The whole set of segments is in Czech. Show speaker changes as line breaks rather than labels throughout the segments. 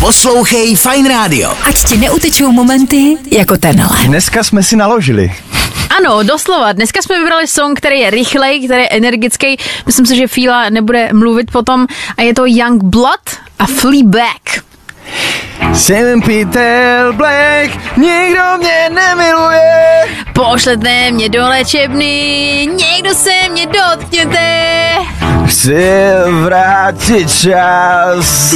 Poslouchej Fine Radio.
Ať ti neutečou momenty jako tenhle.
Dneska jsme si naložili.
Ano, doslova. Dneska jsme vybrali song, který je rychlej, který je energický. Myslím si, že Fíla nebude mluvit potom. A je to Young Blood a Fleabag.
Jsem Peter Black, nikdo mě nemiluje.
Pošlete mě do léčebny, někdo se mě dotkněte.
Chci vrátit čas.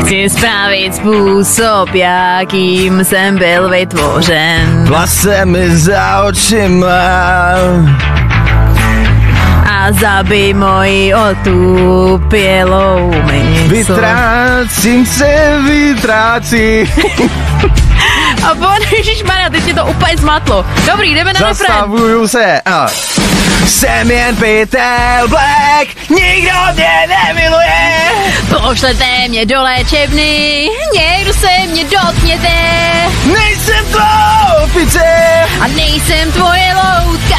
Chci spravit způsob, jakým jsem byl vytvořen.
Plase mi za očima.
A zabij moji otupělou mysl.
Vytrácím se, vytrácí.
A bon, ježišmarja, teď mě to úplně zmatlo. Dobrý, jdeme na refrén.
Zastavuju se. A. Jsem jen Peter Black, nikdo mě nemiluje.
Pošlete mě do léčebny, někdo se mě dotkněte
Nejsem tropice.
a nejsem tvoje loutka.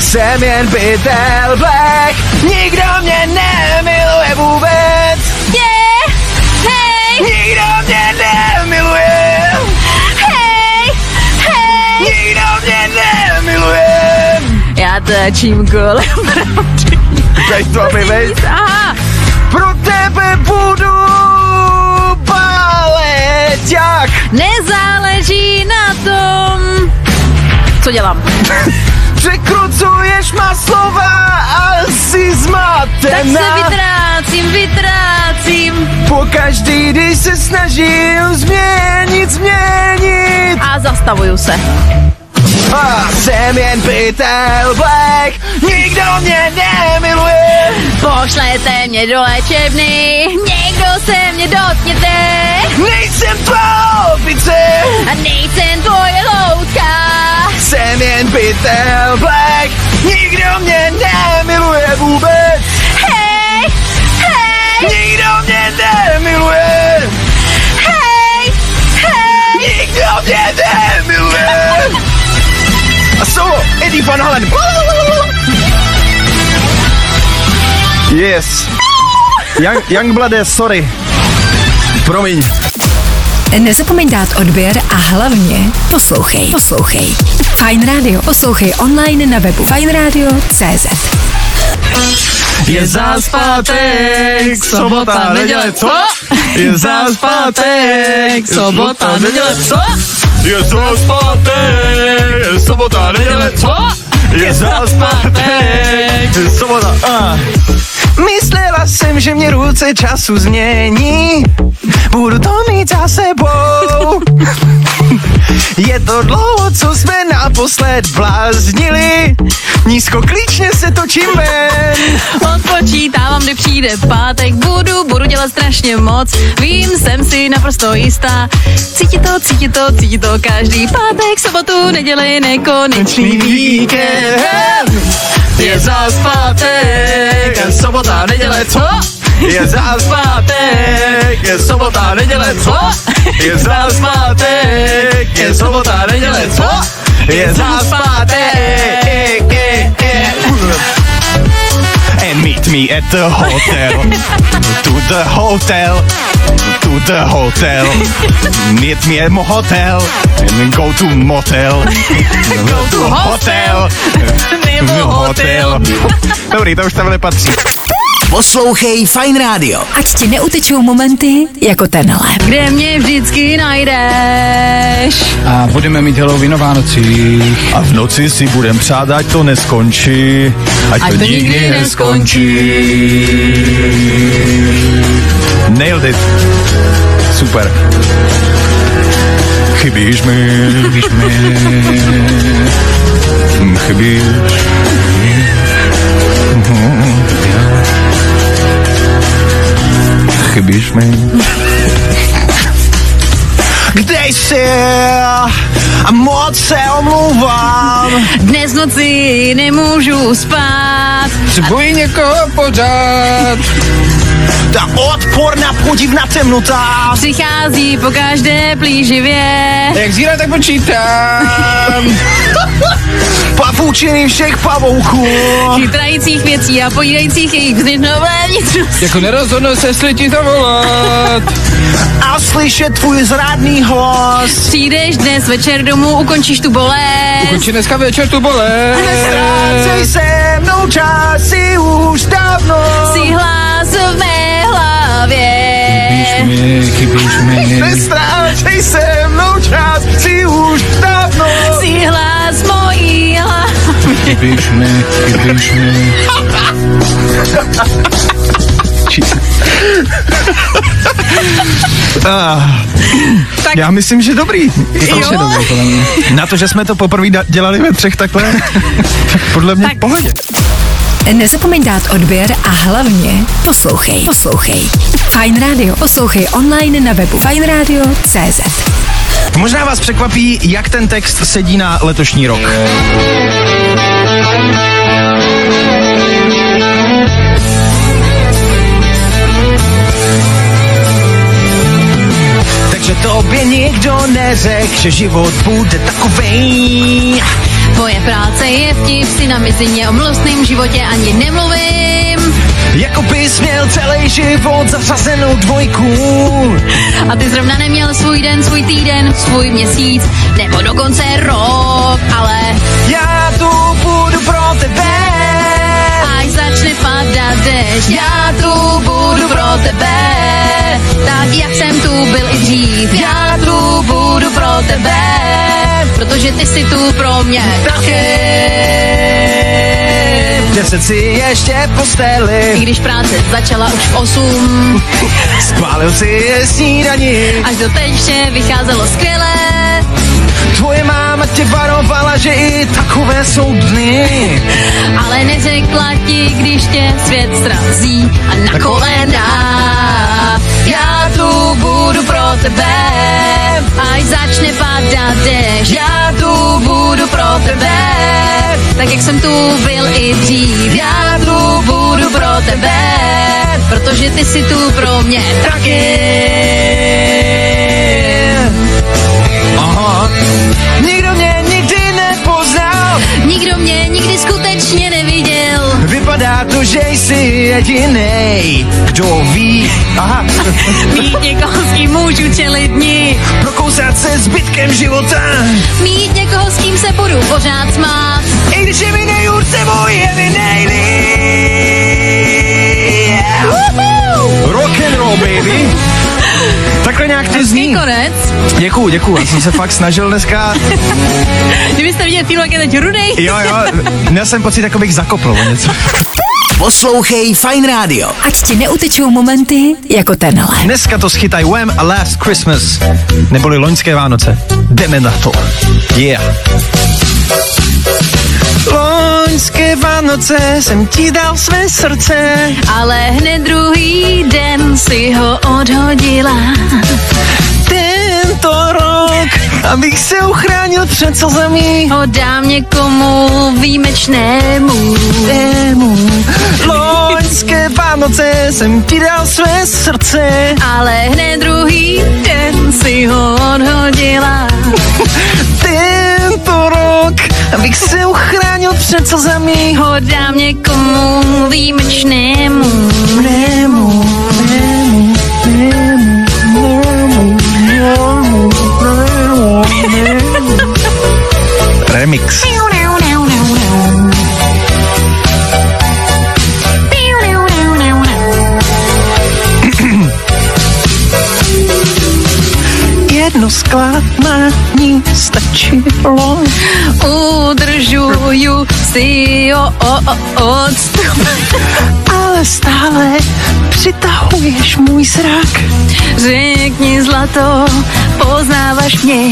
Jsem jen Peter Black, nikdo mě nemiluje vůbec,
Yeah, hej,
nikdo mě nemiluje,
hej, hej.
nikdo mě nemiluje.
Já tačím kolem.
Teď to mi veď,
Aha,
pro tebe budu balet, jak?
nezáleží na tom, co dělám.
Překrucuješ má slova a jsi
Tak se
zmatená.
vytrácím, vytrácím
Po každý, když se snažím změnit, změnit.
a zastavuju se.
A jsem jen Peter Black, nikdo mě nemiluje.
Pošlete mě do léčebny, někdo se mě dotkněte.
Nejsem tropice,
A nejsem tvoje loutka.
jsem jen Peter Black, nikdo mě nemiluje vůbec,
Hej, hej,
nikdo mě nemiluje,
hej, hej.
nikdo mě nemiluje. A solo, Eddie Van Halen. Yes. Young, Youngbloodé, sorry. Promiň.
Nezapomeň dát odběr a hlavně poslouchej. Poslouchej. Fine Radio. Poslouchej online na webu fineradio.cz
Je zás pátek, sobota, neděle, co? Je zás pátek, sobota, neděle, co? Je zás pátek, sobota, neděle, co? Je zás pátek, sobota, a. Myslela jsem, že mě ruce času změní, budu to mít za sebou. Je to dlouho, co jsme naposled bláznili, nízko klíčně se točíme.
Odpočítávám, kdy přijde pátek, budu, budu dělat strašně moc, vím, jsem si naprosto jistá, cítí to, cítí to, cítí to každý pátek, sobotu, neděli, nekonečný víkend.
Je zás pátek, je sobota, neděle, co? Je zás pátek, je sobota, neděle, co? Je zás pátek, je sobota, neděle, co? Je zás pátek, je, je. eh, And meet me at the hotel, to the hotel, to the hotel. Meet me at my hotel, and go to motel, go to hotel. No, hotel. Dobrý, to už tam nepatří.
Poslouchej Fine Radio.
Ať ti neutečou momenty jako tenhle.
Kde mě vždycky najdeš?
A budeme mít Halloween o Vánocích.
A v noci si budem přát, ať to neskončí. Ať,
Ať to nikdy neskončí.
Nailed it. Super. Chybíš mi. Chybíš mi. Hm, Chybíš. Chybíš mi. Kde jsi? A moc se omlouvám.
Dnes v noci nemůžu spát.
Potřebuji někoho pořád.
Ta odporná podivná temnota.
Přichází po každé plíživě.
Jak zíra, tak počítám.
Pavučiny všech pavouchů.
Chytrajících věcí a pojídajících jejich No, vnitřnové vnitřnosti.
Jako nerozhodnu se, jestli ti zavolat.
A slyšet tvůj zrádný hlas.
Přijdeš dnes večer domů, ukončíš tu bolest.
Končí dneska večer tu
Ztrácej
bolest.
se mnou čas, si už dávno.
Si hlas v mé hlavě.
Chybíš mi, chybíš mi.
Ztrácej se mnou čas, si už dávno.
Si hlas mojí hlavě.
Chybíš mi, chybíš mi.
Tak
Já myslím, že dobrý.
Už je dobrý, podle mě.
Na to, že jsme to poprvé da- dělali ve třech takhle, tak podle mě
Tak.
v pohodě.
Nezapomeň dát odběr a hlavně poslouchej. Poslouchej. Fine Radio. Poslouchej online na webu fineradio.cz
Možná vás překvapí, jak ten text sedí na letošní rok.
Takže tobě nikdo neřek, že život bude takovej.
moje práce je vtip, si na mizině o mluvném životě ani nemluvím.
Jako bys měl celý život zařazenou dvojku.
A ty zrovna neměl svůj den, svůj týden, svůj měsíc, nebo dokonce rok, ale
Já tu budu pro tebe.
Až začne padat dešť, já tu budu pro tebe. Tak jak jsem tu byl i dřív, já tu budu pro tebe. Protože ty jsi tu pro mě taky.
Deset si ještě
I
posteli,
když práce začala už v 8,
spálil si je snídaní.
až do teď vše vycházelo skvěle.
Tvoje máma tě varovala, že i takové jsou dny.
Ale neřekla ti, když tě svět srazí a na kolena. Já tu budu pro tebe, až začne padat dešť. Já tu budu pro tebe, tak jak jsem tu byl i dřív. Já tu budu pro tebe, protože ty jsi tu pro mě taky.
Aha. Nikdo mě nikdy nepoznal,
Nikdo mě nikdy skutečně neviděl.
vypadá to, že jsi jedinej. Kdo ví, aha,
Mít někoho, s kým můžu čelit dní.
prokousat se zbytkem života,
Mít někoho, s kým se budu pořád smát.
i když je mi nejhůřce můj, je mi nejlíp.
Rock and roll, baby. Takhle nějak to
Hezký
zní.
konec.
Děkuju, děkuju. Já jsem se fakt snažil dneska.
Kdybyste viděli film, jak je teď rudej.
Jo, jo. Měl jsem pocit, jako bych zakopl o něco.
Poslouchej Fine Radio.
Ať ti neutečou momenty jako tenhle.
Dneska to schytaj Wham a Last Christmas, neboli loňské Vánoce. Jdeme na to. Yeah. Loňské Vánoce jsem ti dal své srdce,
Ale hned druhý den si ho odhodila.
tento rok, abych se uchránil před slzami.
Ho dám někomu výjimečnému.
Loňské Vánoce jsem ti dal své srdce,
Ale hned druhý den si ho odhodila.
tento rok, abych se uchránil před slzami.
Ho dám někomu výjimečnému.
Remix. Jedno zklamání stačilo.
Udržuju si jo o, o, odstup.
Ale stále přitahuješ můj zrak.
Řekni zlato, poznáváš mě.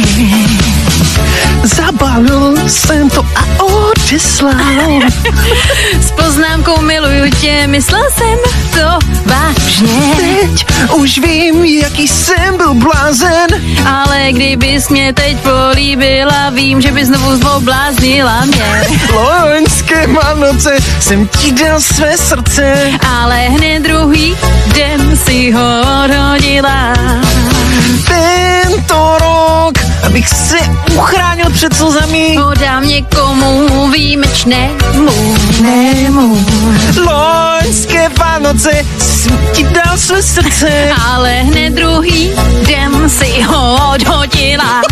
Zabalil jsem to a odeslal.
S poznámkou miluju tě, myslel jsem to vážně.
Teď už vím, jaký jsem byl blázen.
Ale kdybys mě teď políbila, vím, že bys znovu zvobláznila mě.
Loňské Vánoce jsem ti dal své srdce.
Ale hned druhý den si ho odhodila.
Tento rok, abych se uchránil
přece zemí.
Podám někomu výjimečnému. Nemu.
Loňské Vánoce jsem ti dal své srdce.
Ale hned druhý den si ho odhodila.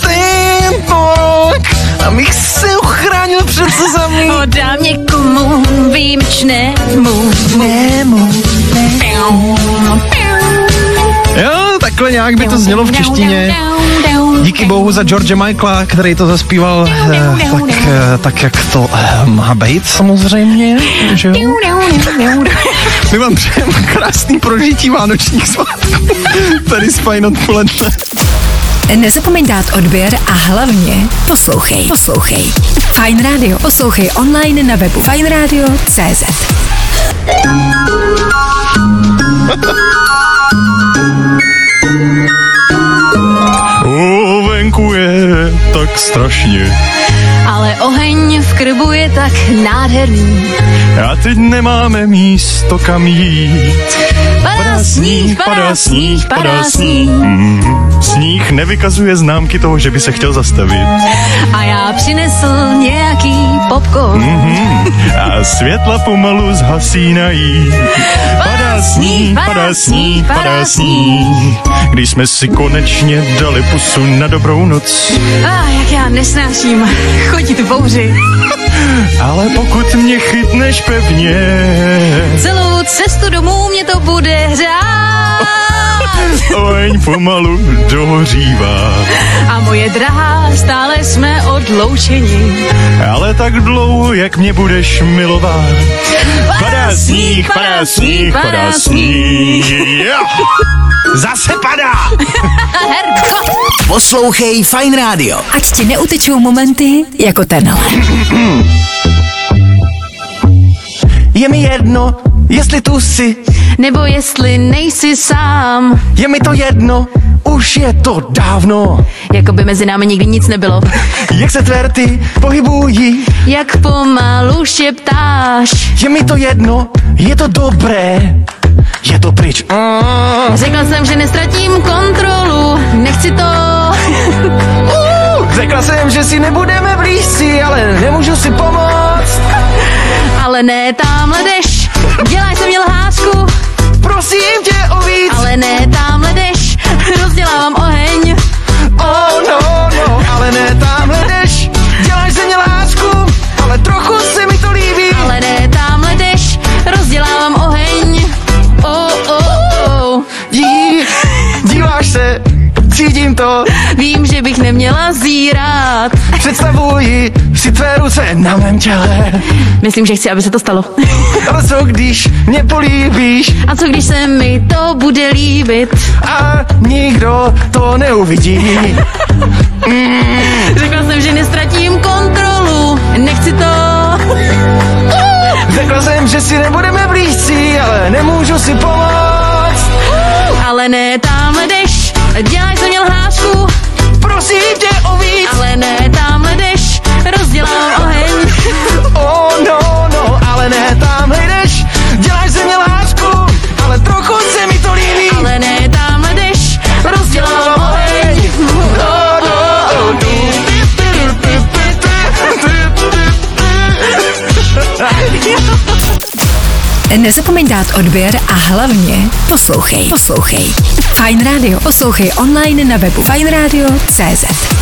Tento rok, abych se uchránil před slzami.
Podám někomu výjimečnému. Nemu.
Jo, takhle nějak by to znělo v češtině. Díky bohu za George Michaela, který to zaspíval eh, tak, eh, tak, jak to eh, má být samozřejmě, že jo? My vám přejeme krásný prožití vánočních svátků. Tady spajn odpoledne.
Nezapomeň dát odběr a hlavně poslouchej. Poslouchej. Fajn Radio. Poslouchej online na webu fajnradio.cz
O, venku je tak strašně.
Ale oheň v krbu je tak nádherný.
A teď nemáme místo kam jít.
Padá sníh, padá sníh, padá sníh.
Mm, sníh nevykazuje známky toho, že by se chtěl zastavit.
A já přinesl nějaký popcorn.
Mhm. A světla pomalu zhasínají. Padá sníh, padá sníh, padá sníh. Když jsme si konečně dali pusu na dobrou noc.
Ah, jak já nesnáším chodit v bouři.
Ale pokud mě chytneš pevně,
Celou cestu domů mě to bude hřát.
oheň pomalu dohořívá.
A moje drahá, stále jsme odloučeni.
Ale tak dlouho, jak mě budeš milovat. Padá sníh, padá sníh, padá sníh. Jo! Zase padá!
Herko!
Poslouchej Fine Radio.
Ať ti neutečou momenty jako tenhle.
Je mi jedno, jestli tu jsi,
Nebo jestli nejsi sám,
je mi to jedno, už je to dávno.
jako by mezi námi nikdy nic nebylo.
Jak se tverty pohybují,
Jak pomalu šeptáš.
je mi to jedno, je to dobré, je to pryč. Mm.
Řekla jsem, že nestratím kontrolu, nechci to.
Uh, Řekla jsem, že si nebudeme blízci, ale nemůžu si pomoct.
Ale ne, tamhle jdeš, děláš se mě lhářku.
Prosím tě o víc.
Ale ne, tamhle jdeš, rozdělávám oheň.
Oh no, no, ale ne tamhle jdeš, děláš ze mě lásku, ale trochu se mi to líbí.
Ale ne, tamhle jdeš, rozdělávám oheň. Oh, oh, oh.
Dí, díváš se, cítím to,
Vím, že bych neměla zírat.
představuji si tvé ruce na mém těle.
Myslím, že chci, aby se to stalo.
Ale co když mě políbíš
A co když se mi to bude líbit?
a nikdo to neuvidí.
Řekla jsem, že nestratím kontrolu. Nechci to.
Řekla jsem, že si nebudeme blízcí, ale nemůžu si pomoct.
Ale ne, tamhle jdeš, děláš se mě lhářku.
Prosím tě o víc.
Ale ne, tamhle jdeš, rozdělám oheň.
Oh no, no, ale ne tamhle jdeš, děláš ze mě lásku, ale trochu se mi to líbí.
Ale ne, tamhle jdeš, rozdělám oheň. Oh,
No,
oh, oh.
Nezapomeň dát odběr a hlavně poslouchej. Poslouchej. Fajn Radio. Poslouchej online na webu fajnradio.cz